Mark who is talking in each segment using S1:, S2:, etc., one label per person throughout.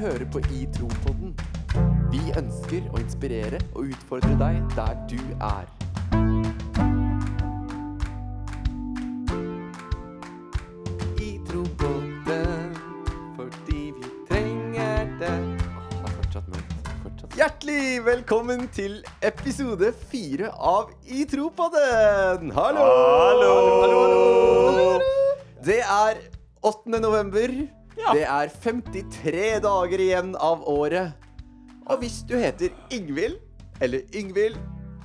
S1: hører på I Tro-podden. Vi ønsker å inspirere og utfordre deg der du er. I Tro-podden, fordi vi trenger det. Åh, det er fortsatt mørkt. Fortsatt. Hjertelig velkommen til episode fire av I Tro-podden! Hallo!
S2: Hallo!
S1: Det er 8. november.
S2: Ja.
S1: Det er 53 dager igjen av året. Og hvis du heter Ingvild eller Yngvild,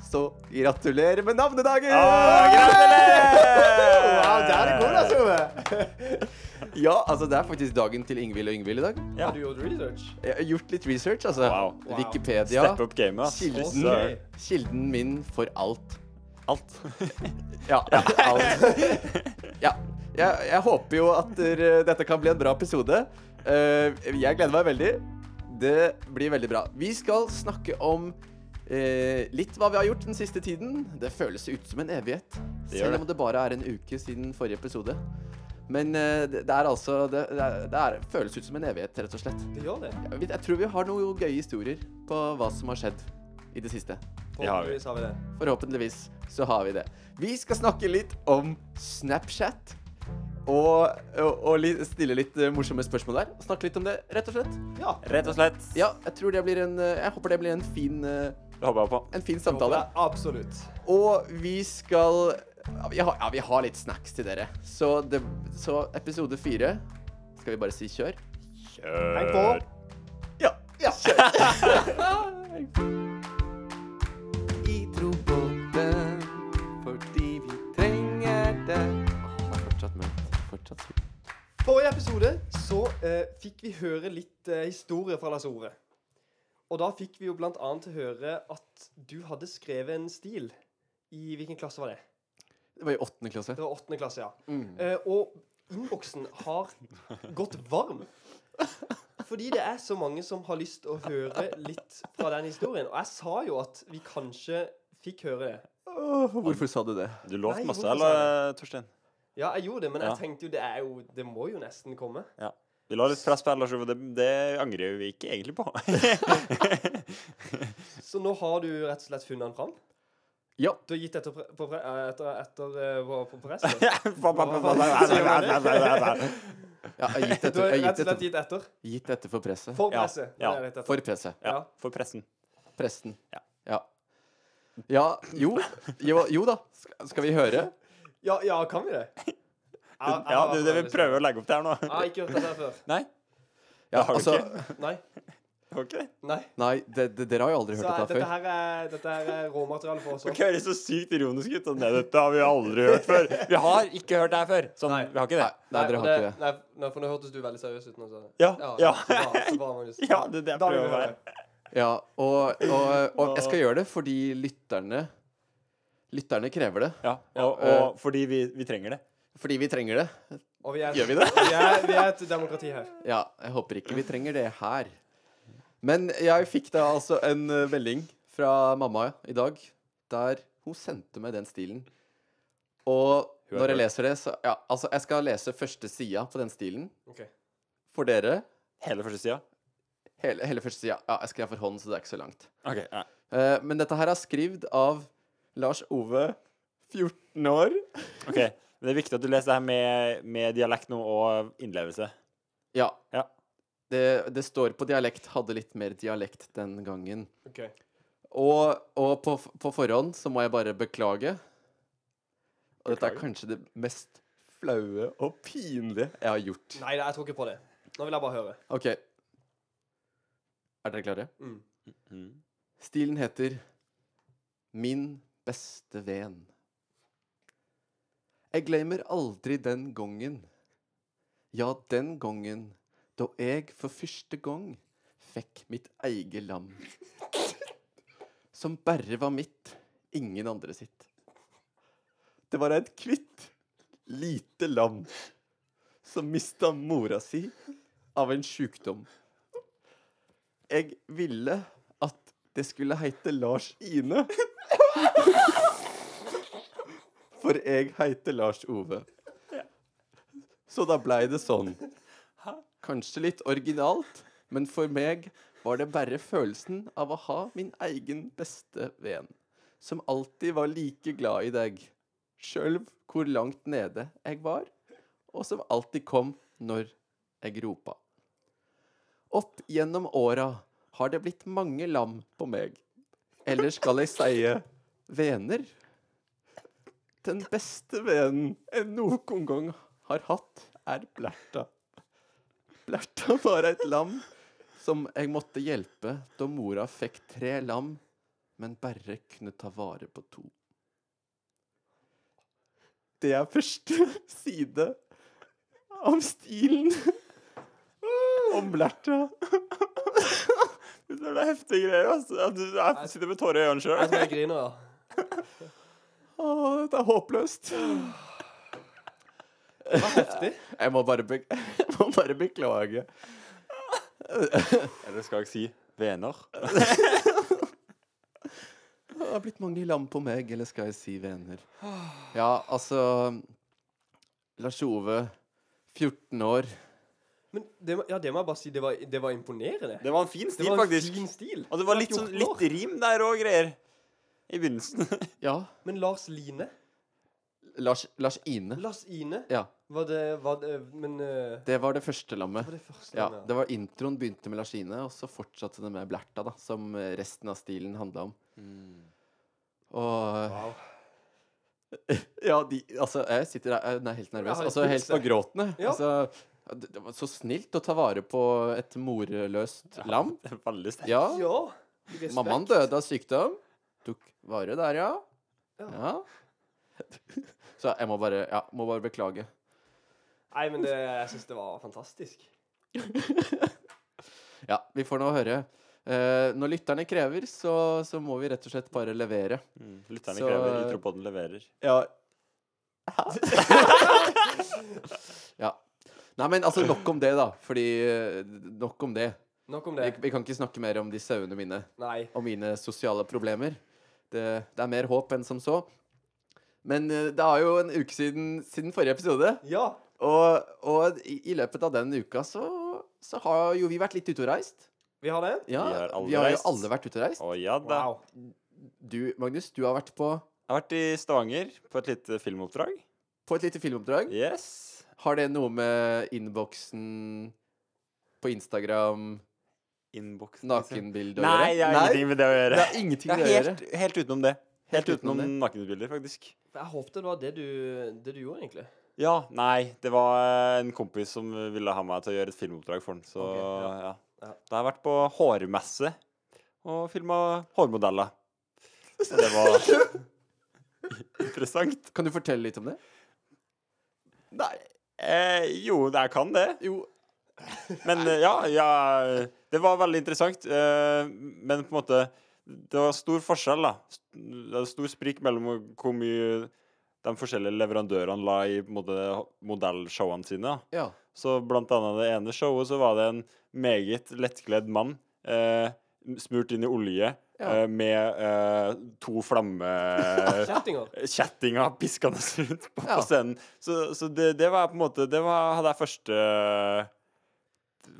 S1: så gratulerer med navnedagen!
S2: Ah, gratulerer!
S1: wow, der er det altså. god, altså! ja, altså, det er faktisk dagen til Ingvild og Yngvild i dag.
S2: Ja.
S3: Har du gjort research?
S1: Jeg har gjort litt research, altså.
S2: Wow.
S3: Wow.
S1: Wikipedia.
S2: Steppe opp gamet, ass.
S1: Kilden,
S2: Fy søren.
S1: kilden min for alt.
S2: Alt.
S1: Ja. alt. ja. Jeg, jeg håper jo at dere- dette kan bli en bra episode. Eh, jeg gleder meg veldig. Det blir veldig bra. Vi skal snakke om eh, litt hva vi har gjort den siste tiden. Det føles ut som en evighet,
S2: Det gjør
S1: selv
S2: det.
S1: om det bare er en uke siden forrige episode. Men eh, det, det er altså Det, det, er, det er, føles ut som en evighet, rett og slett.
S3: Det gjør det.
S1: Jeg, vet- jeg tror vi har noen gøye historier på hva som har skjedd i det siste.
S2: Det har vi.
S3: Forhåpentligvis har vi det.
S1: Forhåpentligvis så har vi det. Vi skal snakke litt om Snapchat. Og, og, og li- stille litt eh, morsomme spørsmål der. Snakke litt om det, rett og slett.
S3: Ja.
S2: Rett og slett.
S1: Ja, jeg tror det blir en eh, Jeg håper det blir en fin, eh,
S2: Det håper jeg på.
S1: en fin samtale.
S3: Absolutt.
S1: Og vi skal ja, vi, har, ja, vi har litt snacks til dere. Så, det, så episode fire Skal vi bare si kjør?
S3: Heng på.
S2: Kjør.
S1: Ja. ja kjør. I trobåten fordi vi trenger det. Åh, det er fortsatt mørkt. Fortsatt mørkt.
S3: Forrige episode så eh, fikk vi høre litt eh, historie fra Lars Ove. Og da fikk vi jo blant annet høre at du hadde skrevet en stil. I hvilken klasse var det?
S1: Det var i åttende klasse.
S3: Det var åttende klasse, ja.
S1: Mm.
S3: Eh, og innboksen har gått varm. Fordi det er så mange som har lyst å høre litt fra den historien. Og jeg sa jo at vi kanskje fikk høre det.
S1: hvorfor sa du det?
S2: Du lovte
S3: Nei,
S2: masse,
S3: hvorfor
S2: eller, Torstein?
S3: Ja, jeg gjorde det, men
S2: Ja.
S3: jeg tenkte jo det er jo Det må jo nesten komme.
S2: Vi la litt press på Lars Ove. Det, det angrer vi ikke egentlig på.
S3: Så nå har du rett og slett funnet den fram?
S1: Ja.
S3: Du har gitt etter, pre- på pre eh, etter, etter eh, på, på press? da?
S1: Ja, jeg har gitt etter, jeg har
S3: Du har rett og
S1: gitt
S3: slett
S1: etter,
S3: gitt etter?
S1: gitt etter for presset.
S3: For
S2: Ja,
S3: presset.
S2: ja.
S3: det er rett etter.
S1: For presset.
S3: ja.
S2: Ja, for pressen.
S1: Presten.
S2: Ja.
S1: Ja. Ja, jo, jo, jo da. Skal, skal vi høre?
S3: Ja, ja, kan vi det? Jeg- jeg
S2: Ja,
S3: har
S2: det, er
S3: vært
S2: det
S3: på
S2: vi
S3: den
S2: prøver å legge opp til her nå.
S3: listen. sånn. Jeg har ikke hørt dette her før.
S2: Nei?
S1: Ja,
S2: Det har du
S1: altså
S3: Nei.
S2: OK?
S3: Nei.
S1: Nei, det, det, dere har jo aldri
S3: Så
S1: hørt
S3: eh,
S1: dette
S3: dette
S1: her før.
S3: her er, dette her er råmateriale for oss
S2: Det
S3: òg.
S2: høres så sykt ironisk ut. og Nei, dette har vi aldri hørt før. Vi har ikke hørt det her før. Sånn, vi har ikke
S1: Nei,
S2: det.
S1: nei, dere har ikke det.
S3: Nei, nei, for nå hørtes du veldig seriøs ut. nå, så-
S2: Ja, ja.
S3: Så bra, så bra, Magnus.
S2: Ja, det er det jeg
S3: Da
S2: prøver
S3: vil
S2: å
S3: vi
S2: være.
S3: høre.
S1: Ja, og, og, og jeg skal gjøre det fordi lytterne Lytterne krever det.
S2: Ja, eh, og, og fordi vi, vi trenger det.
S1: Fordi vi trenger det.
S3: Og vi er,
S1: Gjør vi det?
S3: Vi er, vi er et demokrati her.
S1: Ja, jeg håper ikke vi trenger det her. Men jeg fikk da altså en eh, melding fra mamma i dag, der hun sendte meg den stilen. Og
S2: Hun er
S1: når jeg
S2: rød.
S1: leser det, så Ja, altså, jeg skal lese første sida på den stilen
S3: Ok.
S1: for dere.
S2: Hele første sida.
S1: Hele, hele første sida. Ja, jeg skrev for hånd, så det er ikke så langt.
S2: Ok, ja.
S1: Eh, men dette her er skrevet av Lars Ove, 14 år.
S2: Ok, men Det er viktig at du leser det her med, med dialekt nå og innlevelse.
S1: Ja.
S2: Ja.
S1: Det, det står på dialekt. Hadde litt mer dialekt den gangen.
S3: ok.
S1: Og, og på, f- på forhånd så må jeg bare beklage. Og dette er
S2: Beklager.
S1: kanskje det mest flaue og pinlige jeg har gjort.
S3: Nei, jeg tror ikke på det. Nå vil jeg bare høre.
S1: OK. Er dere klare?
S3: Mm.
S1: Stilen heter Min beste ven. Jeg glemmer aldri den gangen. Ja, den gangen da jeg for første gang fikk mitt eget lam. Som bare var mitt, ingen andre sitt. Det var et kvitt, lite lam som mista mora si av en sjukdom. Jeg ville at det skulle heite Lars Ine. For jeg heiter Lars Ove. Så da blei det sånn. Kanskje litt originalt, men for meg var det bare følelsen av å ha min egen beste venn, som alltid var like glad i deg, sjøl hvor langt nede jeg var, og som alltid kom når jeg ropa. Opp gjennom åra har det blitt mange lam på meg, eller skal jeg sie vener? Den beste vennen jeg noen gang har hatt, er Blerta. Blerta var et lam som jeg måtte hjelpe da mora fikk tre lam, men bare kunne ta vare på to. Det er første side om stilen om Blerta.
S2: Det er heftige greier, altså. Ja, Du jeg sitter med tårer i øynene
S3: Jeg
S2: sjøl.
S3: tror jeg griner, ja.
S1: Å, dette er håpløst.
S3: Det var heftig.
S1: Jeg må bare, be jeg må bare beklage.
S2: Eller skal jeg si vener?
S1: Det har blitt mange lam på meg, eller skal jeg si venner? Ja, altså Lars Ove, 14 år.
S3: Men det, må- ja, det må jeg bare si, det var, det var imponerende.
S2: Det var en fin
S3: Det
S2: stil,
S3: var en
S2: faktisk.
S3: fin stil.
S2: Og det var litt, sånn,
S3: 14 år.
S2: litt rim der òg, greier. I begynnelsen.
S1: Ja.
S3: Men Lars Line
S1: Lars, Lars Ine.
S3: Lars Ine
S1: Ja.
S3: var det, var det Men eh,
S1: Det var det første
S3: var
S1: lammet.
S3: det første
S1: Ja,
S3: navnet?
S1: det var Introen begynte med Lars Ine, og så fortsatte det med Blerta, da, som eh, resten av stilen handla om. Mm. Og
S3: Wow.
S1: Ja, de Altså, jeg sitter der jeg er helt nervøs.
S3: Jeg har
S1: Altså,
S3: puls,
S1: helt på
S3: jeg.
S1: gråten, jeg.
S3: Ja.
S1: Altså, ja, det, det var så snilt å ta vare på et moreløst lam.
S2: Det er veldig sterkt.
S1: Ja.
S3: Ja. respekt.
S1: Mammaen døde av sykdom. Tok vare der, ja.
S3: Ja.
S1: ja. Så jeg må bare, ja, må bare beklage.
S3: Nei, men det, jeg syns det var fantastisk.
S1: Ja, vi får nå høre. Eh, når lytterne krever, så, så må vi rett og slett bare levere.
S2: Mm. Lytterne
S1: Så,
S2: krever,
S1: eh,
S2: Ytropoden leverer.
S1: Ja. ja. Nei, men altså, nok om det, da. Fordi eh, Nok om det.
S3: Nok om
S1: Vi,
S3: det.
S1: vi kan ikke snakke mer om de sauene mine
S3: Nei.
S1: og mine sosiale problemer. Det, det er mer håp enn som så. Men eh, det er jo en uke siden, siden forrige episode.
S3: Ja.
S1: Og, og i i løpet av den uka så, så har jo vi vært litt ute og reist.
S3: Vi har det.
S1: Ja,
S2: Vi har alle
S1: vi har jo
S2: reist.
S1: alle vært ute og reist.
S2: Å ja da.
S3: Wow.
S1: Du, Magnus, du har vært på,
S2: Jeg har vært i Stavanger på et lite filmoppdrag.
S1: på et lite filmoppdrag.
S2: Yes.
S1: Har det noe med innboksen på Instagram,
S2: Innboksen
S1: nakenbilde å
S2: Nei, det
S1: gjøre?
S2: har ingenting med det å
S1: det
S2: gjøre.
S1: har ingenting
S2: Det
S1: med å
S2: er
S1: gjøre.
S2: helt, helt utenom det. Helt,
S1: Helt utenom
S2: utenom,
S1: det.
S2: nakenbilder, faktisk.
S3: Jeg håpte det var det du, det du gjorde, egentlig.
S2: Ja, nei, det var eh, en kompis som ville ha meg til å gjøre et filmoppdrag for han, så
S3: Ok, ja.
S2: ja.
S3: Ja.
S2: Da har jeg vært på hårmesse og filma hårmodeller. Så det var interessant.
S1: Kan du fortelle litt om det?
S2: Nei eh, Jo, jeg kan det.
S1: Jo.
S2: Men eh, ja, ja Det var veldig interessant. eh, Men på en måte Det var stor forskjell, da. St- Det var stor sprik mellom hvor mye de forskjellige leverandørene la i på en måte modellshowene sine. da.
S1: Ja.
S2: Så blant annet det ene showet så var det en meget lettkledd mann eh, smurt inn i olje
S1: Ja.
S2: eh, med eh, to flammekjettinger
S3: Kjettinger.
S2: piskende rundt på,
S1: Ja.
S2: på scenen. Så, så det, det var på en måte Det var, hadde jeg første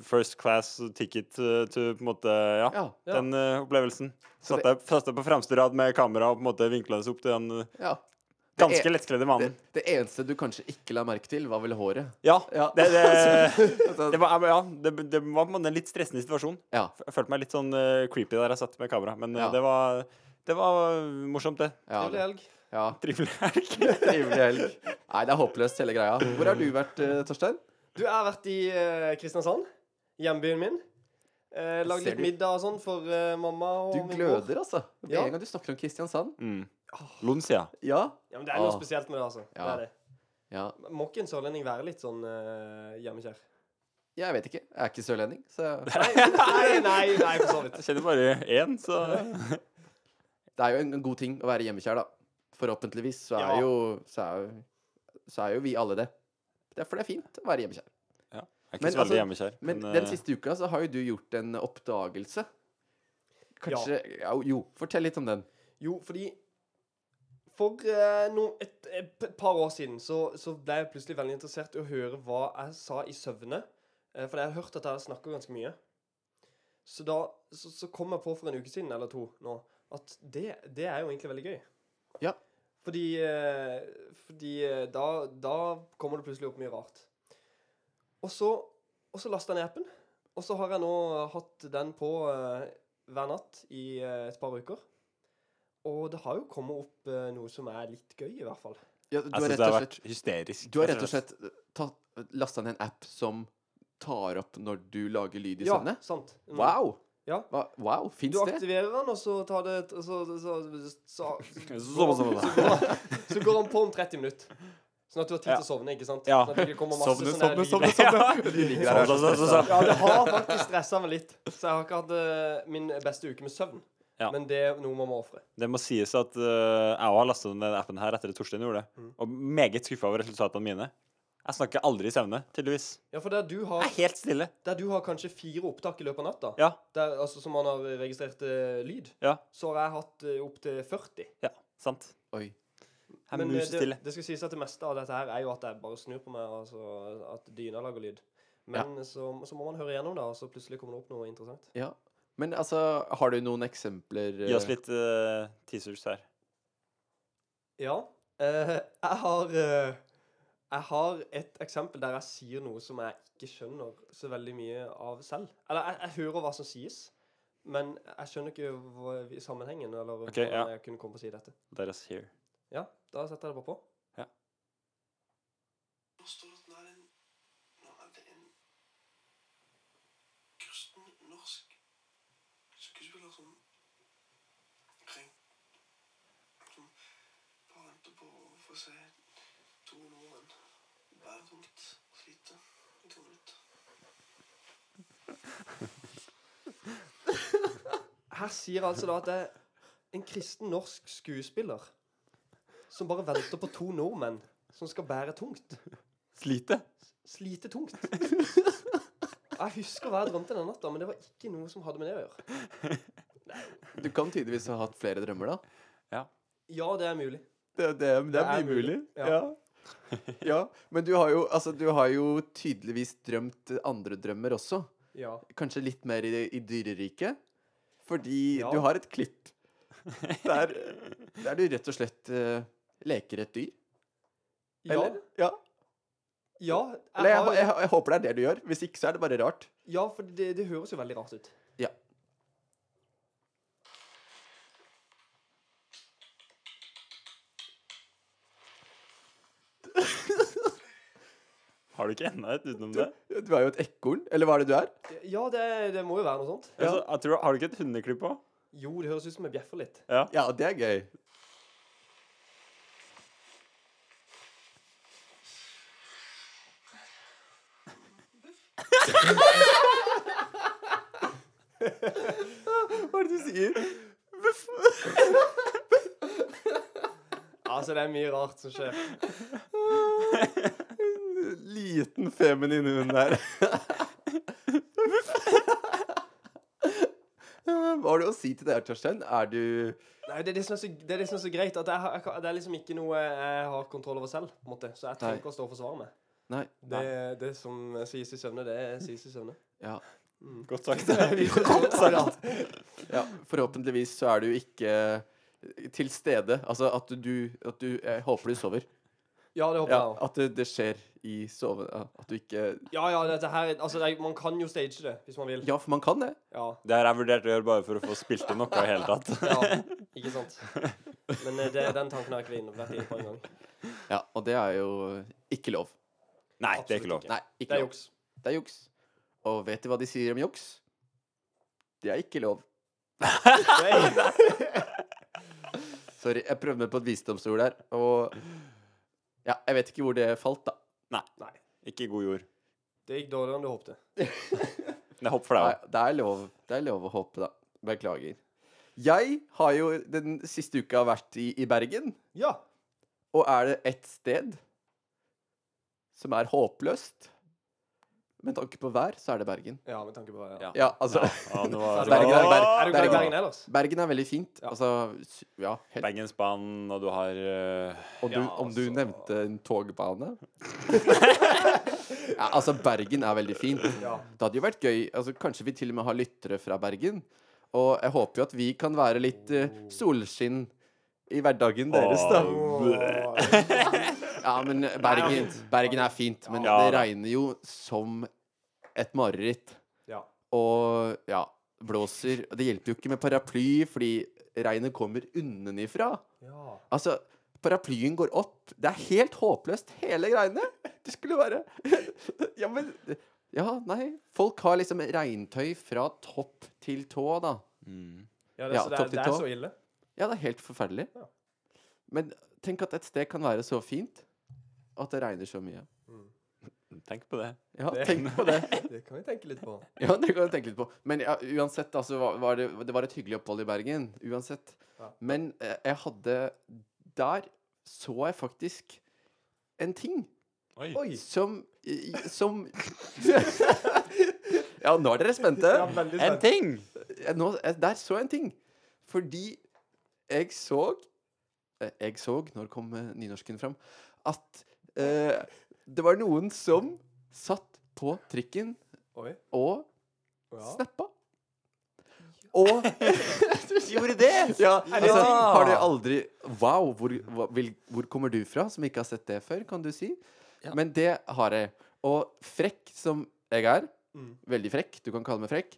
S2: First class ticket to, to på en måte Ja,
S1: Ja.
S3: Ja.
S2: den eh, opplevelsen.
S1: Så
S2: Satt jeg, satt jeg på fremste rad med kamera og på en måte vinkla oss opp til den eh,
S1: ja.
S2: ganske
S1: er-
S2: lettkledde
S1: Det,
S2: mannen.
S1: det eneste du kanskje ikke la merke til, var vel håret.
S2: Ja,
S1: Ja.
S2: det, det,
S1: Altså,
S2: det, var, ja det, det var på en måte en litt stressende situasjon.
S1: ja.
S2: Jeg følte meg litt sånn eh, creepy der jeg satt med kamera, men eh,
S1: Ja.
S2: det, var, det var eh, morsomt, det.
S1: Ja, det, ja.
S3: Trivelig helg.
S2: Trivelig helg.
S1: Trivelig helg. Nei, det er håpløst, hele greia. Hvor har du vært, eh, Torstein?
S3: Du, jeg har vært i eh, Kristiansand. Hjembyen min. Eh, Lagd
S1: Ser
S3: litt
S1: du?
S3: middag og sånn for eh, mamma og
S1: Du
S3: min bror.
S1: gløder, altså. Med
S3: Ja.
S1: en gang du snakker om Kristiansand.
S2: Mm. Lund, sier jeg.
S1: Ja.
S3: Ja, men det er noe
S1: Ah.
S3: spesielt med det, altså. Det
S1: Ja.
S3: er det.
S1: ja.
S3: Må ikke en sørlending være litt sånn eh, hjemmekjær?
S1: Jeg vet ikke. Jeg er ikke sørlending, så
S3: Nei, nei, nei, nei, for så vidt.
S2: Jeg kjenner bare én, så
S1: det er jo en en god ting å være hjemmekjær, da. Forhåpentligvis så er,
S3: Ja.
S1: jo, så, er, jo- så er jo vi alle det. Derfor det er fint å være hjemmekjær.
S2: Jeg er ikke
S1: Men
S2: så veldig
S1: altså,
S2: hjemmekjær.
S1: Men
S2: men,
S1: den
S2: eh,
S1: siste uka så har jo du gjort en oppdagelse. Kanskje ja. Jo, fortell litt om den.
S3: Jo, fordi for eh, no, et, et, p- par år siden så, så ble jeg plutselig veldig interessert i å høre hva jeg sa i søvne. Eh, for jeg har hørt at jeg snakker ganske mye. Så da så, så kom jeg på for en uke siden eller to nå at det, det er jo egentlig veldig gøy.
S1: Ja.
S3: Fordi, eh, fordi eh, da, da kommer det plutselig opp mye rart. Og så, og så lasta jeg ned appen. Og så har jeg nå eh, hatt den på eh, hver natt i eh, et par uker. Og det har jo kommet opp eh, noe som er litt gøy, i hvert fall.
S1: Ja, du,
S2: Jeg
S1: har
S2: syns
S1: rett og
S2: det har
S1: slett,
S2: vært hysterisk.
S1: du har rett og slett eh, tatt, lasta ned en app som tar opp når du lager lyd i
S3: Ja,
S1: søvne?
S3: sant. Mm.
S1: Wow!
S3: Ja.
S1: Hva, wow, Fins
S3: Du
S1: det?
S3: aktiverer den, og så tar det et- så, så, så, så,
S2: Så- så- så-
S3: så går han- Så går han på om 30 minutter. Sånn at du har tid til å sovne, ikke sant?
S2: Ja.
S3: Sånn at det ikke kommer masse
S1: Sovne,
S3: sånne
S1: sovne,
S3: lyder.
S1: sovne. sovne. Du ligger der og er så
S2: Sånn, sånn, sånn,
S1: stressa.
S2: sånn.
S3: Ja, det har faktisk stressa meg litt. Så jeg har ikke hatt eh, min beste uke med søvn.
S2: Ja.
S3: Men det er noe man må ofre.
S2: Det må sies at eh, jeg òg har lasta ned denne appen her etter at Torstein gjorde det.
S3: Mm.
S2: Og meget skuffa over resultatene mine. Jeg snakker aldri i søvne, tydeligvis.
S3: Ja, for der du
S2: Jeg
S3: har,
S2: er helt stille.
S3: der du har kanskje fire opptak i løpet av natta,
S2: Ja.
S3: der, altså, som man har registrert eh, lyd,
S2: Ja.
S3: så har jeg hatt uh, opptil 40.
S2: Ja, sant.
S1: Oi.
S2: Jeg er
S3: Men eh,
S2: musestille.
S3: det, det skal sies at det meste av dette her er jo at jeg bare snur på meg, altså at dyna lager lyd. Men så, så må man høre igjennom det, og så plutselig kommer det opp noe interessant.
S1: Ja. Men altså, har du noen eksempler?
S2: Gi oss
S1: eh,
S2: litt eh, teasers her.
S3: Ja. eh, jeg har eh, Jeg har et eksempel der jeg sier noe som jeg ikke skjønner så veldig mye av selv. Eller jeg, jeg hører hva som sies, men jeg skjønner ikke hva, sammenhengen eller
S2: Ok, ja.
S3: hvordan jeg kunne komme på å si dette.
S2: Let us hear.
S3: Ja, da setter jeg det bare på.
S4: Nå står det at nå er det en Nå er det en Kristen norsk skuespiller som Kring Som bare venter på å få se to nordmenn bære tungt og slite i to minutter.
S3: Her sier altså da at det er en kristen norsk skuespiller som bare venter på to nordmenn som skal bære tungt.
S2: Slite?
S3: Slite tungt. Jeg husker hva jeg drømte den natta, men det var ikke noe som hadde med det å gjøre.
S1: Du kan tydeligvis ha hatt flere drømmer, da.
S3: Ja, det er mulig.
S1: Det, det, det,
S3: Det
S1: er
S3: er
S1: mye mulig.
S3: mulig, ja.
S1: Ja. ja. Men du har, jo, altså, du har jo tydeligvis drømt andre drømmer også.
S3: Ja.
S1: Kanskje litt mer i, i dyreriket. Fordi
S3: Ja.
S1: du har et klipp der, der du rett og slett eh, leker et dyr.
S3: Ja.
S1: Eller? Ja.
S3: ja
S1: Eller
S3: jeg
S1: jeg,
S3: har,
S1: jeg, jeg håper det er det du gjør. Hvis ikke, så er det bare rart.
S3: ja, for det, det høres jo veldig rart ut.
S1: Ja.
S2: Har du ikke enda et utenom det?
S1: Du er jo et ekorn. Eller hva er det du er?
S3: Ja, det, det må jo være noe sånt.
S2: Altså, jeg tror, har du ikke et hundeklipp òg?
S3: Jo, det høres ut som jeg bjeffer litt.
S2: Ja.
S1: Ja, det er gøy. Hva er det du sier?
S3: Altså, det er mye rart som skjer.
S1: Liten feminin hund der. Hva har du å si til det her, Torstein? Er du
S3: Nei, det er det som er så, det er det som er så greit. At jeg, har- jeg, kan- det er liksom ikke noe jeg har kontroll over selv. på en måte. Så jeg trenger
S1: Nei.
S3: ikke å stå og forsvare meg.
S1: Nei.
S3: Det, det som sies i søvne, det sies i søvne.
S1: Ja.
S2: Godt sagt.
S1: ja. Forhåpentligvis så er du ikke eh, til stede. Altså at du, at du Jeg håper du sover.
S3: Ja, det håper jeg
S1: Ja,
S3: òg.
S1: at det, det skjer i sove... ja, At du ikke
S3: Ja, ja, dette her Altså, det, er- man kan jo stage det, hvis man vil.
S1: Ja, for man kan det.
S3: Ja.
S2: Det har jeg vurdert å gjøre bare for å få spilt inn noe i hele tatt.
S3: ja ikke sant? Men eh, det, den tanken har jeg ikke vært inne- vært inne på engang.
S1: Ja, Og det er jo ikke lov.
S2: Nei, det er ikke lov.
S1: Nei,
S3: Det
S1: ikke
S3: er
S1: lov.
S3: juks.
S1: Det er juks. Og vet du hva de sier om juks? Det er ikke lov.
S3: Det er-
S1: Sorry, jeg prøvde meg på et visdomsord der, og Ja, jeg vet ikke hvor det falt, da.
S3: Nei.
S2: Ikke i god jord.
S3: Det gikk dårligere enn du håpte.
S2: Men jeg håper for deg
S1: Nei,
S2: òg.
S1: det er lov. Det er lov å håpe, da. Beklager. Jeg har jo den siste uka vært i, i Bergen,
S3: Ja.
S1: og er det ett sted som er håpløst Med tanke på vær, så er det Bergen.
S3: Ja, med tanke på det.
S2: Ja.
S3: Ja.
S1: Ja, altså
S2: Ja, det var,
S1: Bergen er- Bergen-
S3: Er du
S1: Det er
S3: glad i
S1: bra.
S3: Bergen ellers?
S1: Bergen er veldig fint.
S3: Ja.
S1: Altså, s- ja, helt
S2: Bergensbanen, og du har eh,
S1: Om du,
S3: Ja,
S1: om du
S3: altså-
S1: nevnte en togbane? Ja, altså, Bergen er veldig fint.
S3: Ja.
S1: Det hadde jo vært gøy. Altså, kanskje vi til og med har lyttere fra Bergen. Og jeg håper jo at vi kan være litt eh, solskinn i hverdagen deres, da.
S3: Åh.
S1: Ja, men Bergen, Bergen er fint, men
S2: Ja,
S1: det
S2: da.
S1: regner jo som et mareritt.
S3: Ja.
S1: Og ja, blåser. Og Det hjelper jo ikke med paraply, fordi regnet kommer unnenifra.
S3: ja.
S1: Altså, paraplyen går opp. Det er helt håpløst, hele greiene. Det skulle være Ja, men Ja, nei. Folk har liksom regntøy fra topp til tå, da.
S3: Ja, det,
S1: Ja,
S3: så det,
S1: topp
S3: er,
S1: til
S3: det er
S1: tå.
S3: så ille.
S1: Ja, det er helt forferdelig.
S3: Ja.
S1: Men tenk at et sted kan være så fint at det regner så mye.
S2: Tenk på det.
S1: Ja,
S3: Det-
S1: tenk på det.
S3: Det kan vi tenke litt på.
S1: Ja, det kan du tenke litt på. Men ja, uansett, altså, var, var det, det var et hyggelig opphold i Bergen. Uansett.
S3: Ja.
S1: Men eh, jeg hadde Der så jeg faktisk en ting
S2: Oi.
S3: Oi.
S1: som i- i- Som Ja, nå er dere spente.
S3: Ja, veldig
S2: En
S3: spent.
S2: ting!
S1: Jeg- Eh, nå, jeg, der så jeg en ting. Fordi jeg så eh, Jeg så, når kom eh, nynorsken fram, at eh, det var noen som satt på trikken
S3: Oi.
S1: og
S3: Ja.
S1: snappa. Og Gjorde det? Ja, altså,
S2: Ja.
S1: har du aldri Wow, hvor, hva- vil- hvor kommer du fra som ikke har sett det før, kan du si?
S2: Ja.
S1: Men det har jeg. Og frekk som jeg er,
S3: Mm.
S1: veldig frekk, du kan kalle meg frekk,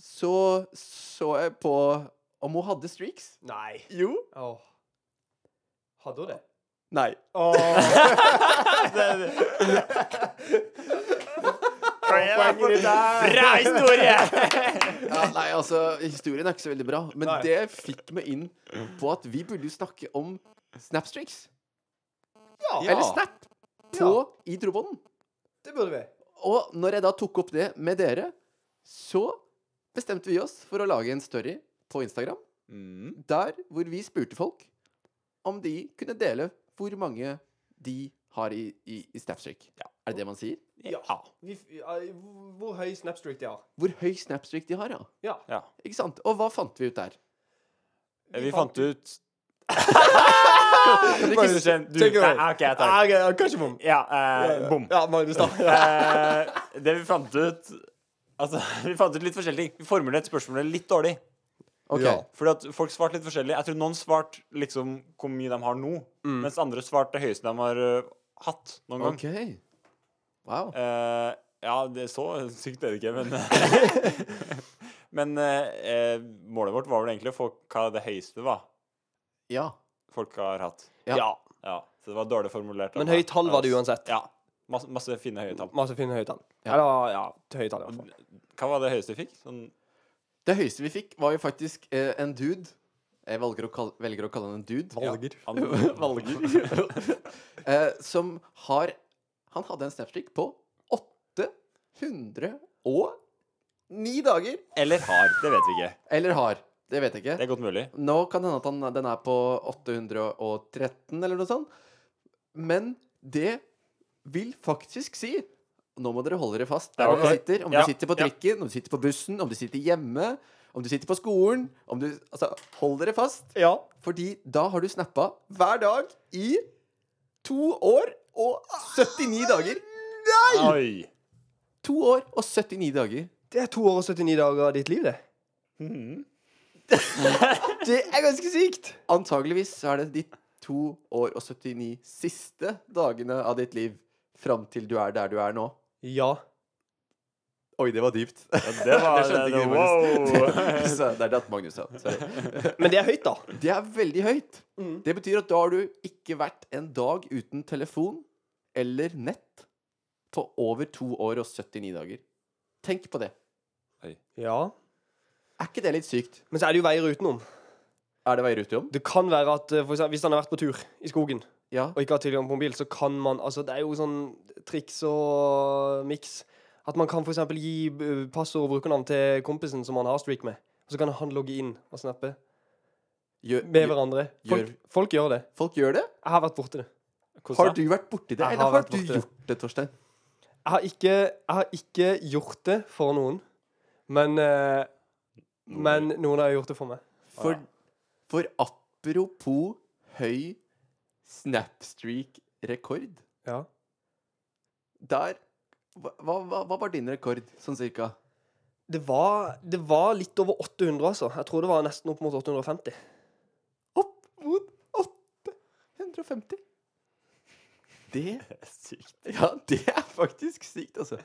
S1: så så jeg på om hun hadde streaks.
S3: Nei.
S1: Jo.
S3: Åh. Hadde hun det?
S1: Nei.
S2: Bra historie!
S1: Ja, nei, altså, historien er ikke så veldig bra. Men
S3: Nei.
S1: det fikk meg inn på at vi burde jo snakke om snapstreaks.
S3: Ja,
S1: Eller snap. På i trobonen.
S3: det burde vi.
S1: Og når jeg da tok opp det med dere, så bestemte vi oss for å lage en story på Instagram
S2: Mm.
S1: der hvor vi spurte folk om de kunne dele hvor mange de har i, i, i snapstreak. Er det det man sier?
S2: Ja.
S3: vi f- ja, hvor- hvor høy snapstreak de har.
S1: Hvor høy snapstreak de har, ja.
S3: Ja.
S2: ja.
S1: Ikke sant? Og hva fant vi ut der?
S2: Eh, Vi fant ut
S1: Kan dere
S2: Bare
S1: ikke
S2: du
S1: s-
S2: kjenner- du-
S3: Take it away.
S2: Nei, OK, jeg tar
S3: Ja, ok, ja, Kanskje bom.
S2: Ja, eh, bom.
S3: Ja, Magnus, da.
S2: Eh, det vi fant ut Altså, vi fant ut litt forskjellige ting. Vi formulerte spørsmålet litt dårlig.
S1: Ok.
S3: Ja.
S2: Fordi at folk svarte litt forskjellig. Jeg tror noen svarte liksom hvor mye de har nå, mens andre svarte det høyeste de har eh, hatt noen gang.
S1: ok. Wow.
S2: Eh, ja, det er så sykt er det ikke, men Men eh, eh, målet vårt var vel egentlig å få hva det høyeste var
S1: Ja.
S2: folk har hatt.
S1: Ja.
S2: Ja, Så det var dårlig formulert. av
S3: Men
S2: meg.
S3: høyt tall var det uansett.
S2: Ja. Masse, masse fine høye tall.
S3: Masse fine høye tall.
S1: Ja.
S3: Eller ja, høye tall i hvert fall.
S2: Hva var det høyeste vi fikk? Sånn
S1: Det høyeste vi fikk, var jo faktisk eh, en dude. Jeg velger å, kalle, velger å kalle han en dude.
S3: Valger.
S2: an-
S1: Valger. eh, som har Han hadde en snapstick på 809 dager.
S2: Eller har. Det vet vi ikke.
S1: Eller har. Det vet jeg
S2: Det
S1: ikke.
S2: er godt mulig.
S1: Nå kan det hende at han, den er på 813 eller noe sånt. Men det vil faktisk si Nå må dere holde dere fast der
S2: Ja,
S1: dere
S2: ok.
S1: sitter. Om
S2: Ja,
S1: du sitter på
S2: ja.
S1: trikken, om du sitter på bussen, om du sitter hjemme, om du sitter på skolen om du, Altså, hold dere fast.
S3: Ja.
S1: Fordi da har du snappa hver dag i to år og 79 dager.
S2: Oi!
S1: To år og 79 dager.
S3: Det er to år og 79 dager av ditt liv, det. det er ganske sykt.
S1: Antageligvis så er det de to år og 79 siste dagene av ditt liv fram til du er der du er nå.
S3: Ja.
S1: Oi, det var dypt.
S2: Ja, det var
S1: skjønte
S2: det,
S1: ikke du,
S2: Wow!
S1: Så det er datt Magnus sa. Sorry.
S3: Men det er høyt, da.
S1: Det er veldig høyt.
S2: Mm.
S1: Det betyr at da har du ikke vært en dag uten telefon eller nett på over to år og 79 dager. Tenk på det.
S3: Ja.
S1: Er ikke det litt sykt?
S3: Men så er det jo veier utenom.
S1: Er det veier utenom?
S3: Det kan være at eh, for eksempel, hvis han har vært på tur i skogen
S1: Ja.
S3: og ikke har tilgang på mobil, så kan man Altså, det er jo sånn triks og miks. At man kan for eksempel gi eh, passord og brukernavn til kompisen som man har streak med. Og så kan han logge inn og snappe
S1: Gjør,
S3: med hverandre. Folk,
S1: Gjør-
S3: folk gjør det.
S1: folk gjør det?
S3: Jeg har vært borti det.
S1: Har du vært borti det,
S3: Jeg
S1: eller
S3: har
S1: har du
S3: vært borti det.
S1: gjort det, Torstein?
S3: Jeg har ikke, jeg har ikke gjort det for noen, men eh, Men noen har gjort det for meg.
S1: For, for apropos høy snapstreak-rekord
S3: Ja.
S1: Der hva, hva, hva var din rekord, sånn cirka?
S3: Det var, det var litt over 800, altså. Jeg tror det var nesten opp mot 850.
S1: Opp mot 850. Det
S2: Sykt.
S1: Ja, det er faktisk sykt, altså.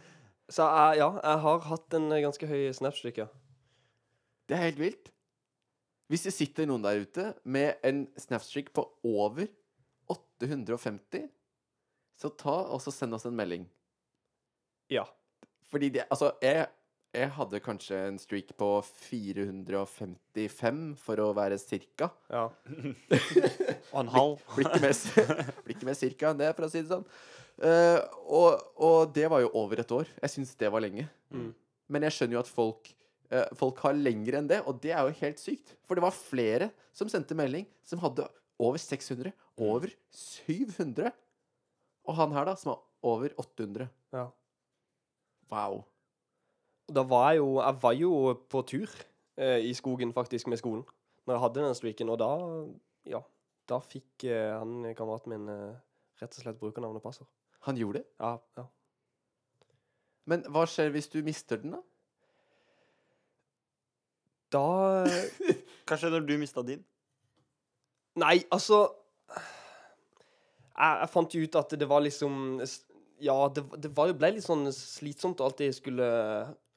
S3: Så jeg, ja, jeg har hatt en ganske høy snapstreak, ja.
S1: Det er helt vilt. Hvis det sitter noen der ute med en snapstreak på over 850, så ta og så send oss en melding.
S3: Ja.
S1: Fordi det Altså, jeg, jeg hadde kanskje en streak på 455, for å være cirka.
S3: ja.
S2: Og en halv.
S1: Blir ikke mer, blir ikke mer cirka enn det, for å si det sånn. Eh, og, og det var jo over et år. Jeg syns det var lenge.
S3: Mm.
S1: Men jeg skjønner jo at folk eh, Folk har lengre enn det, og det er jo helt sykt. For det var flere som sendte melding som hadde over 600,
S3: Mm.
S1: over 700. Og han her, da, som har over 800.
S3: ja.
S1: Wow.
S3: Da var jeg jo Jeg var jo på tur eh, i skogen, faktisk, med skolen. Når jeg hadde den streaken, og da Ja. Da fikk eh, han kameraten min eh, rett og slett brukernavn og passord.
S1: Han gjorde det.
S3: Ja, ja.
S1: Men hva skjer hvis du mister den, da?
S3: Da
S2: Hva skjedde når du mista din?
S3: Nei, altså Jeg, jeg fant jo ut at det var liksom s- Ja, det, det var, ble litt sånn slitsomt å alltid skulle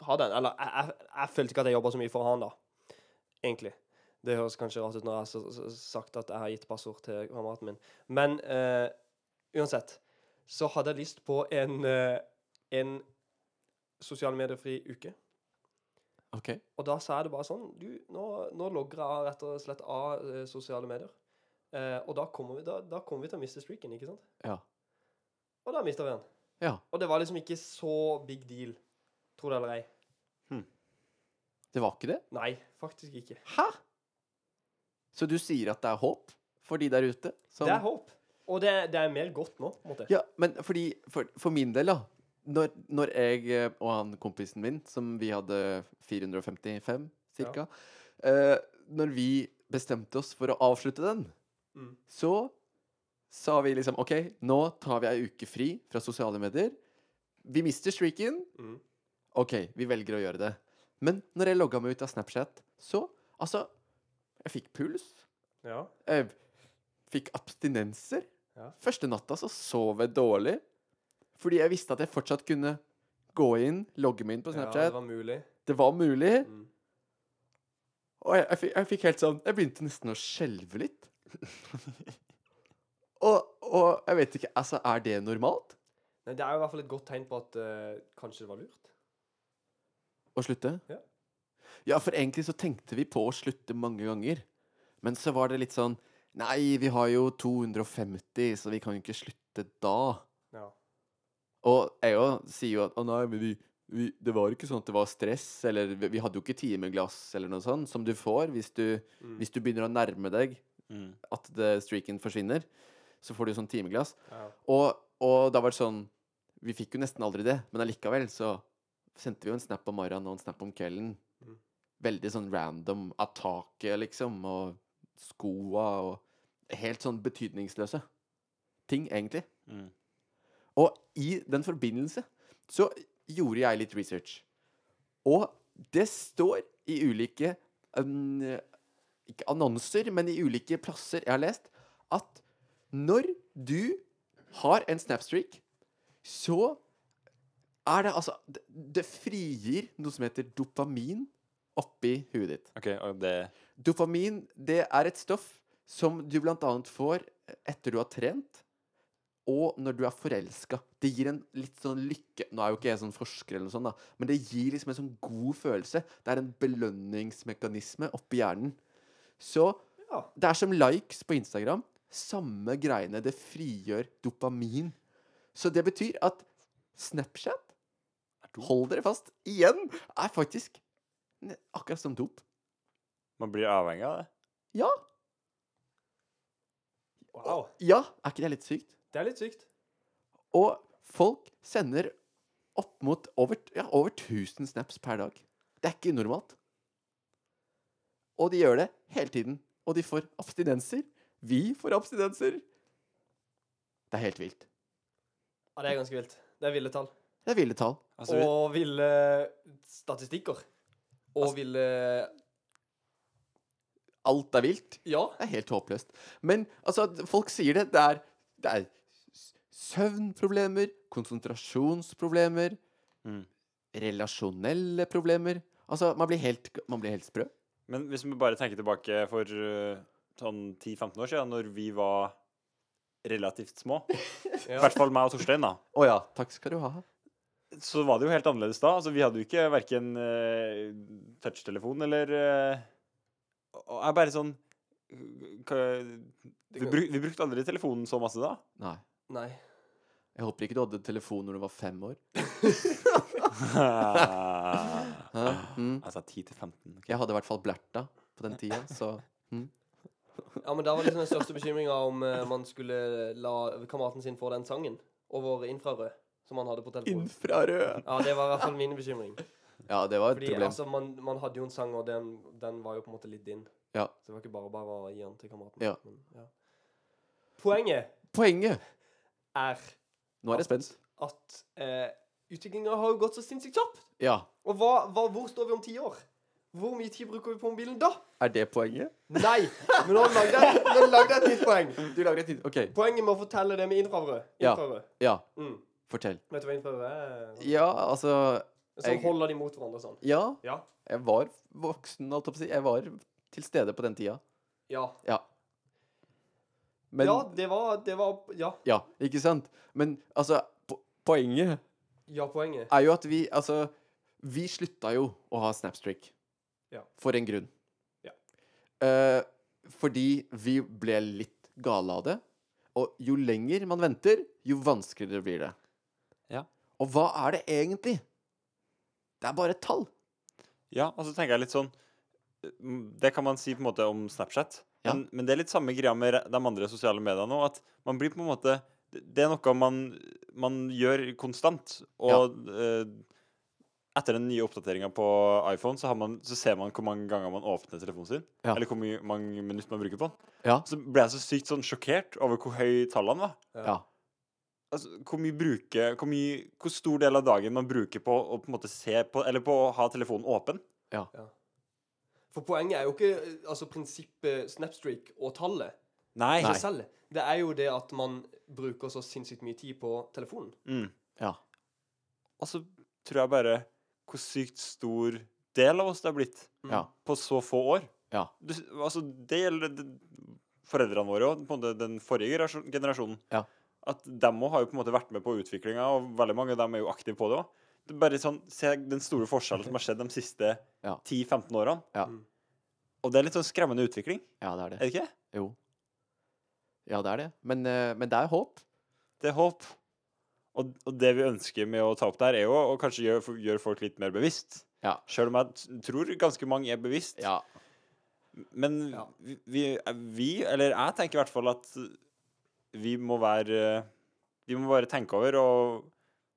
S3: ha den. Eller jeg, jeg, jeg følte ikke at jeg jobba så mye for å ha den, da. Egentlig. Det høres kanskje rart ut når jeg har s- s- sagt at jeg har gitt passord til kameraten min. Men eh, uansett så hadde jeg lyst på en, eh, en sosiale medier-fri uke.
S1: OK.
S3: Og da sa jeg det bare sånn Du, nå, nå logger jeg rett og slett av eh, sosiale medier. Eh, og da kommer, vi, da, da kommer vi til å miste streaken, ikke sant?
S1: Ja.
S3: Og da mista vi den.
S1: Ja.
S3: Og det var liksom ikke så big deal, tro det eller ei.
S1: Det var ikke det?
S3: Nei, faktisk ikke.
S1: Hæ? Så du sier at det er håp for de der ute? som-
S3: Det er håp. Og det, det er mer godt nå, på en måte.
S1: Ja, men fordi, for, for min del, da. Når, når jeg eh, og han kompisen min, som vi hadde 455 ca., eh, når vi bestemte oss for å avslutte den,
S3: Mm.
S1: så sa vi liksom OK, nå tar vi ei uke fri fra sosiale medier. Vi mister streaken.
S3: Mm.
S1: OK, vi velger å gjøre det. Men når jeg logga meg ut av Snapchat, så Altså, jeg fikk puls.
S3: Ja.
S1: Jeg Eh, fikk abstinenser.
S3: Ja.
S1: Første natta så sov jeg dårlig. Fordi jeg visste at jeg fortsatt kunne gå inn, logge meg inn på
S3: Ja,
S1: Snapchat.
S3: det var mulig.
S1: det, var... mulig.
S3: Mm.
S1: Og jeg, jeg, fikk, jeg fikk helt sånn Jeg begynte nesten å skjelve litt. og, og jeg vet ikke Altså, er det normalt
S3: Men det er jo i hvert fall et godt tegn på at eh, kanskje det var lurt.
S1: å slutte?
S3: Ja.
S1: ja, for egentlig så tenkte vi på å slutte mange ganger. Men så var det litt sånn Nei, vi har jo 250, så vi kan jo ikke slutte da.
S3: Ja.
S1: Og jeg jo sier jo at Å nei, men vi, vi Det var ikke sånn at det var stress, eller vi, vi hadde jo ikke timeglass, eller noe sånt, som du får hvis du,
S3: Mm.
S1: hvis du begynner å nærme deg
S2: Mm.
S1: at det, streaken forsvinner. Så får du sånn timeglass.
S3: ja.
S1: Og, og det har vært sånn Vi fikk jo nesten aldri det, men allikevel så sendte vi jo en snap om morgenen og en snap om kvelden.
S3: Mm.
S1: Veldig sånn random av taket, liksom, og skoa og Helt sånn betydningsløse ting, egentlig.
S2: Mm.
S1: Og i den forbindelse så gjorde jeg litt research. Og det står i ulike um, Ikke annonser, men i ulike plasser jeg har lest, at når du har en snapstreak, så er det altså Det, det frigir noe som heter dopamin oppi huet ditt.
S2: OK, og det
S1: Dopamin det er et stoff som du bl.a. får etter du har trent, og når du er forelska. Det gir en litt sånn lykke Nå er jo ikke jeg sånn forsker, eller noe sånt da men det gir liksom en sånn god følelse. Det er en belønningsmekanisme oppi hjernen. Så
S3: Ja.
S1: det er som likes på Instagram. Samme greiene. Det frigjør dopamin. Så det betyr at Snapchat, hold dere fast, igjen, er faktisk ne- akkurat som dop.
S2: Man blir avhengig av det.
S1: Ja.
S3: Wow.
S1: Ja, er ikke det litt sykt?
S3: Det er litt sykt.
S1: Og folk sender opp mot over, ja, over 1000 snaps per dag. Det er ikke unormalt. Og de gjør det hele tiden. Og de får abstinenser. Vi får abstinenser. Det er helt vilt.
S3: Ja, det er ganske vilt. Det er ville tall.
S1: Det er ville tall.
S2: Altså, vi,
S3: og ville statistikker. Og ville
S1: Alt er vilt.
S3: Ja.
S1: Det er helt håpløst. Men altså, at folk sier det. Det er, det er s- søvnproblemer, konsentrasjonsproblemer,
S2: Mm.
S1: relasjonelle problemer. Altså, man blir helt, man blir helt sprø.
S2: men hvis vi bare tenker tilbake for eh, sånn 10-15 år siden, når vi var relativt små, i
S3: ja.
S2: hvert fall meg og Torstein, da,
S1: Å ja, takk skal du ha.
S2: så var det jo helt annerledes da. Altså, vi hadde jo ikke verken eh, touchtelefon eller eh, Og jeg er bare sånn hva- vi, bruk, vi brukte aldri telefonen så masse da.
S1: Nei.
S3: Nei.
S1: Jeg håper ikke du hadde telefon når du var fem år. Hæ? Mm.
S2: altså 10-15. ok.
S1: Jeg hadde i hvert fall Blerta på den tida, så
S3: Ja, men Da var liksom den største bekymringa om eh, man skulle la kameraten sin få den sangen over infrarød som han hadde på telefonen.
S1: Infrarød!
S3: Ja, Det var i hvert fall min bekymring.
S1: Ja, det var et
S3: Fordi
S1: problem.
S3: altså, man, man hadde jo en sang, og den, den var jo på en måte litt din.
S1: Ja.
S3: Så det var ikke bare bare å gi den til kameraten.
S1: Ja.
S3: Men, ja. Poenget
S1: Poenget
S3: er
S1: Nå er jeg spent.
S3: at eh, utviklinga har jo gått så sinnssykt kjapt.
S1: Ja.
S3: Og hva, hva, hvor står vi om ti år? Hvor mye tid bruker vi på mobilen da?
S1: Er det poenget?
S3: Nei! Men nå lagde jeg, nå lagde jeg et nytt poeng.
S1: Du lager et tid... OK.
S3: Poenget med å fortelle det med infrarød.
S1: Ja.
S3: infrarød.
S1: Ja,
S3: Mm.
S1: fortell.
S3: Vet du hva infrarød er?
S1: Ja, altså
S3: Sånn
S1: jeg-
S3: holder de mot hverandre sånn.
S1: Ja,
S3: Ja.
S1: jeg var voksen, holdt jeg på å si. Jeg var til stede på den tida.
S3: Ja.
S1: Ja. Men
S3: ja,
S1: Ja,
S3: det var, det var Ja.
S1: ikke sant? Men altså, po poenget
S3: Ja, poenget.
S1: er jo at vi Altså, vi slutta jo å ha Snapstreak.
S3: Ja.
S1: For en grunn.
S3: Ja.
S1: Eh, fordi vi ble litt gale av det. Og jo lenger man venter, jo vanskeligere blir det.
S2: Ja.
S1: Og hva er det egentlig? Det er bare et tall.
S2: Ja, og så tenker jeg litt sånn mm, Det kan man si på en måte om Snapchat.
S1: Ja.
S2: Men, men det er litt samme greia med re- de andre sosiale mediene òg, at man blir på en måte Det det er noe man, man gjør konstant, og eh, etter den nye oppdateringa på iPhone, så, har man, så ser man hvor mange ganger man åpner telefonen sin.
S1: Ja.
S2: Eller hvor mye- mange minutter man bruker på den.
S1: Ja.
S2: Så ble jeg så sykt sånn sjokkert over hvor høy tallene var.
S1: Ja.
S2: Altså, hvor mye bruker hvor, mye, hvor stor del av dagen man bruker på å på en måte se på Eller på å ha telefonen åpen.
S3: For poenget er jo ikke eh, altså prinsippet Snapstreak og tallet
S2: Nei.
S3: i seg selv. Det er jo det at man bruker så sinnssykt mye tid på telefonen.
S2: Mm.
S1: Ja.
S2: Og så tror jeg bare hvor sykt stor del av oss det har blitt
S3: Mm.
S1: Ja.
S2: på så få år.
S1: Ja.
S2: Du, altså, det gjelder det- foreldrene våre og på en måte den forrige generasjon- generasjonen.
S1: Ja.
S2: At dem òg har jo på en måte vært med på utviklinga, og veldig mange av dem er jo aktive på det òg. Det er bare sånn, Se den store forskjellen som har skjedd de siste
S1: Ja.
S2: 10-15 årene.
S1: Ja.
S3: Mm.
S2: Og det er litt sånn skremmende utvikling,
S1: ja, det er
S2: er
S1: det.
S2: det ikke?
S1: Jo. Ja, det er det. Men, eh, men det er håp.
S2: Det er håp. Og, og det vi ønsker med å ta opp der, er jo å kanskje gjøre gjøre folk litt mer bevisst.
S1: Ja.
S2: Sjøl om jeg t- tror ganske mange er bevisst.
S1: Ja.
S2: Men
S3: Ja.
S2: vi- vi, vi, eller jeg tenker i hvert fall at vi må være Vi må bare tenke over og,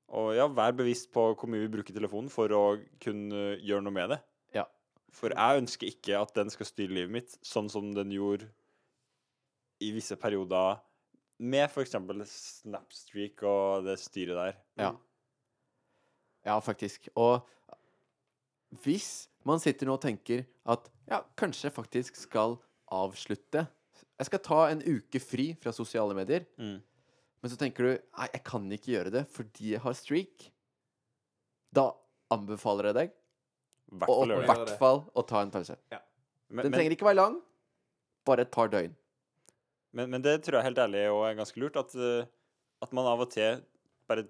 S2: og ja, være bevisst på hvor mye vi bruker telefonen for å kunne gjøre noe med det.
S1: Ja.
S2: For jeg ønsker ikke at den skal styre livet mitt sånn som den gjorde i visse perioder med f.eks. Snapstreak og det styret der.
S1: Ja. Mm. Ja, faktisk. Og hvis man sitter nå og tenker at ja, kanskje jeg faktisk skal avslutte Jeg skal ta en uke fri fra sosiale medier,
S2: Mm.
S1: men så tenker du nei, jeg kan ikke gjøre det fordi jeg har streak. Da anbefaler jeg deg
S2: I hvert
S1: å
S2: fall
S1: i
S2: gjør det.
S1: hvert fall å ta en pause.
S2: Men,
S1: Den
S2: men,
S1: trenger ikke være lang, bare et par døgn.
S2: Men, men det tror jeg helt ærlig og er ganske lurt, at, eh, at man av og til bare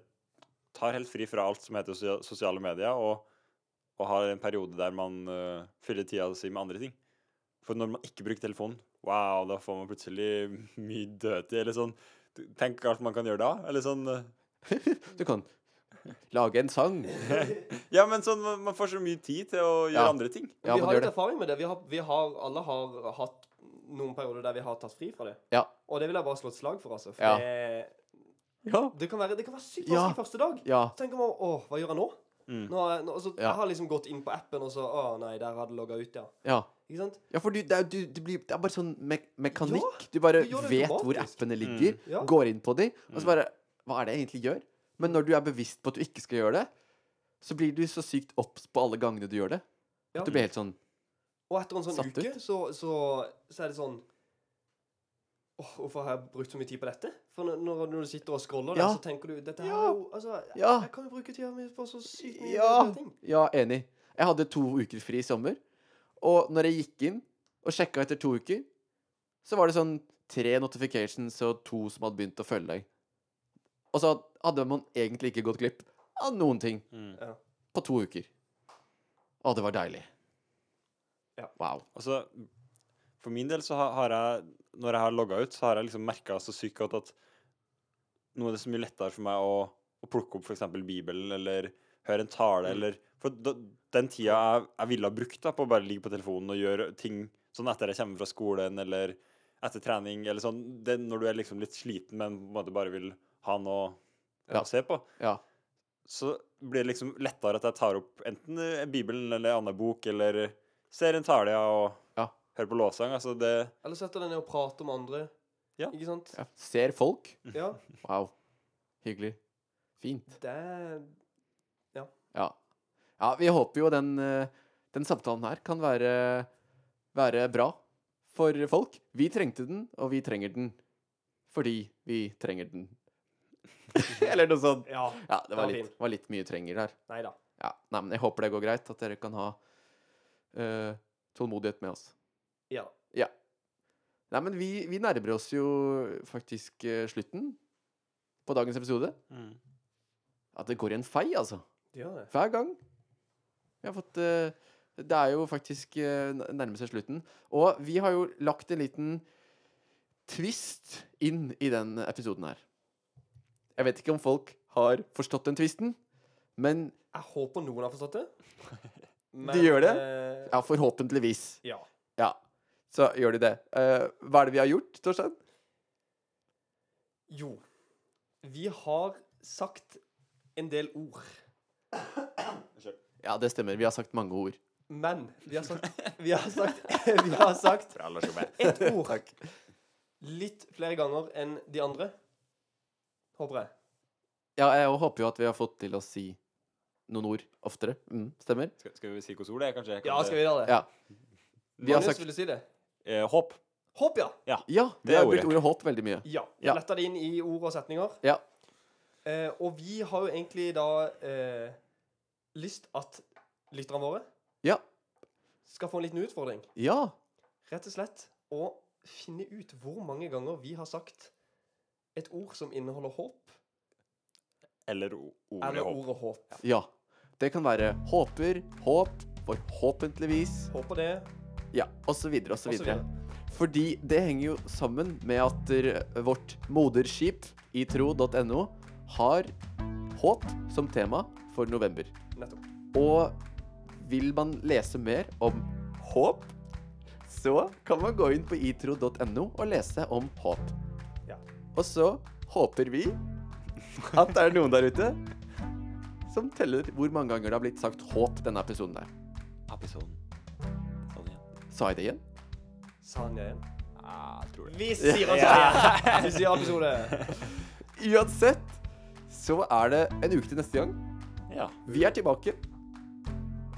S2: tar helt fri fra alt som heter sosia- sosiale medier, og, og har en periode der man eh, fyller tida si med andre ting. For når man ikke bruker telefonen, wow, da får man plutselig mye dødtid, eller sånn. Tenk alt man kan gjøre da, eller sånn. eh,
S1: Du kan lage en sang.
S2: Ja, men sånn, man- man får så mye tid til å gjøre
S1: Ja.
S2: andre ting.
S1: Ja,
S3: vi
S1: man
S3: har
S1: gjør
S3: litt
S1: det.
S3: erfaring med det. Vi har, vi har, alle har hatt noen perioder der vi har tatt fri fra det.
S1: Ja.
S3: Og det vil jeg bare slå et slag for, altså. For
S1: Ja.
S3: det,
S1: Ja.
S3: det, kan være, det kan være sykt
S1: Ja.
S3: vanskelig første dag.
S1: ja.
S3: Så tenker man åh, hva gjør jeg nå?
S2: Mm.
S3: nå, har jeg- nå så,
S1: Ja.
S3: Jeg har liksom gått inn på appen, og så Å nei, der hadde det logga ut, ja.
S1: ja.
S3: Ikke sant?
S1: Ja, for du, det, er, jo- du, det, blir, det er bare sånn me mekanikk. Du bare
S3: du gjør det
S1: vet hvor
S3: automatisk.
S1: appene ligger,
S3: Ja.
S1: går inn på de, og så bare Hva er det jeg egentlig gjør? Men når du er bevisst på at du ikke skal gjøre det, så blir du så sykt obs på alle gangene du gjør det.
S3: Ja.
S1: At du blir helt sånn
S3: Og etter en sånn
S1: Satt
S3: uke, så, så, så er det sånn Åh, hvorfor har jeg brukt så mye tid på dette? For når- når, når du sitter og scroller, der,
S1: Ja.
S3: så tenker du Dette her
S1: Ja.
S3: er jo Altså, jeg,
S1: Ja.
S3: jeg kan jo bruke tida mi på så sykt mye
S1: Ja.
S3: bedre ting.
S1: Ja, enig. Jeg hadde to uker fri i sommer. Og når jeg gikk inn og sjekka etter to uker, så var det sånn tre notifications og to som hadde begynt å følge deg. Og så hadde man egentlig ikke gått glipp av noen ting
S2: Mm.
S3: Ja.
S1: på to uker. Å, det var deilig.
S3: Ja.
S1: Wow.
S2: Altså, for min del så har- har jeg Når jeg har logga ut, så har jeg liksom merka så sykt godt at nå er det så mye lettere for meg å, å plukke opp f.eks. Bibelen eller høre en tale eller For da, den tida jeg, jeg ville ha brukt da, på å bare ligge på telefonen og gjøre ting sånn etter jeg kommer fra skolen eller etter trening eller sånn, det, når du er liksom litt sliten, men på en måte bare vil ha noe
S1: Ja.
S2: å se på,
S1: Ja.
S2: så blir det liksom lettere at jeg tar opp enten eh, Bibelen eller en annen bok, eller ser en tale og
S1: Ja.
S2: hører på lovsang. Altså det
S3: Eller setter deg ned og prater med andre.
S2: Ja.
S3: Ikke sant?
S1: ja. Ser folk.
S3: Ja.
S1: Wow. Hyggelig. Fint.
S3: Det er
S1: Ja. ja vi håper jo den, eh, den samtalen her kan være, være bra for folk. Vi trengte den, og vi trenger den fordi vi trenger den. Eller noe sånt.
S3: Ja.
S1: Ja, det var
S3: Den var
S1: litt, var litt mye trenger der.
S3: Nei da.
S1: Ja, nei, men jeg håper det går greit, at dere kan ha eh, tålmodighet med oss.
S3: Ja.
S1: Nei, men vi, vi nærmer oss jo faktisk eh, slutten på dagens episode. At det går i en fei, altså.
S3: Det gjør det.
S1: Hver gang. Vi har fått eh, Det er jo faktisk uh, nærmer seg slutten. Og vi har jo lagt en liten twist inn i den episoden her. Jeg vet ikke om folk har forstått den twisten, men
S3: Jeg håper noen har forstått det.
S1: gjør det?
S3: eh,
S1: ja, forhåpentligvis.
S3: ja.
S1: Ja. Så gjør de det. Eh, hva er det vi har gjort, Torstein?
S3: Jo. Vi har sagt en del ord.
S1: Ja, det stemmer. Vi har sagt mange ord.
S3: Men vi har sagt Vi har sagt, vi har sagt
S2: Bra, Lars Jobbe.
S3: ett ord. Litt flere ganger enn de andre. Håper jeg.
S1: Ja, jeg håper jo at vi har fått til å si noen ord oftere. Mm, stemmer.
S2: Skal, skal vi si hvilket ord det er, kanskje?
S3: Ja, skal vi gjøre det?
S1: Ja. Vi har
S3: Magnus,
S1: sagt
S3: vil du si det?
S2: Eh, håp.
S3: Håp, ja.
S1: Ja,
S2: Det
S1: vi
S2: er
S1: har brukt
S2: ordet.
S1: ordet håp veldig mye.
S3: Ja.
S1: Ja.
S3: Fletta det inn i ord og setninger.
S1: Ja.
S3: Eh, og vi har jo egentlig da eh, lyst at lytterne våre
S1: Ja.
S3: skal få en liten utfordring.
S1: Ja.
S3: Rett og slett å finne ut hvor mange ganger vi har sagt et ord som inneholder håp,
S2: Eller o- ordet
S3: eller
S2: håp.
S3: ordet håp.
S1: Ja. Det kan være håper, håp, forhåpentligvis,
S3: Håper det,
S1: ja, osv.,
S3: og så
S1: osv.
S3: videre.
S1: Fordi det henger jo sammen med at eh, vårt moderskip i tro.no har håp som tema for november.
S3: Nettopp.
S1: Og vil man lese mer om håp, så kan man gå inn på itro.no og lese om håp.
S3: Ja.
S1: Og så håper vi at det er noen der ute som teller hvor mange ganger det har blitt sagt håp denne episoden der.
S2: Episoden.
S1: Sa
S2: Sånn igjen.
S1: jeg det igjen?
S3: Sa han igjen.
S2: Ah, jeg tror det.
S3: Vi sier altså det! Vi sier episode.
S1: Uansett så er det en uke til neste gang.
S2: Ja.
S1: Vi er tilbake.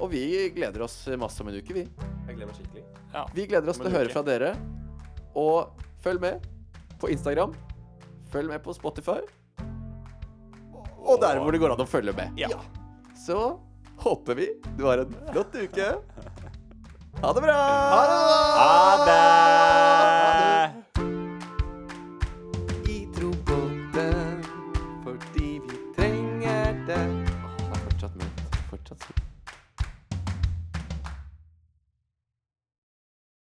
S1: Og vi gleder oss masse om en uke, vi.
S3: Jeg gleder meg skikkelig.
S2: ja.
S1: Vi gleder oss
S2: Om
S1: til å
S2: en
S1: høre
S2: uke.
S1: fra dere. Og følg med på Instagram. Følg med på Spotify. Og der hvor det går an å følge med.
S2: Ja.
S1: Så håper vi du har en flott uke. Ha det bra!
S2: Ha det!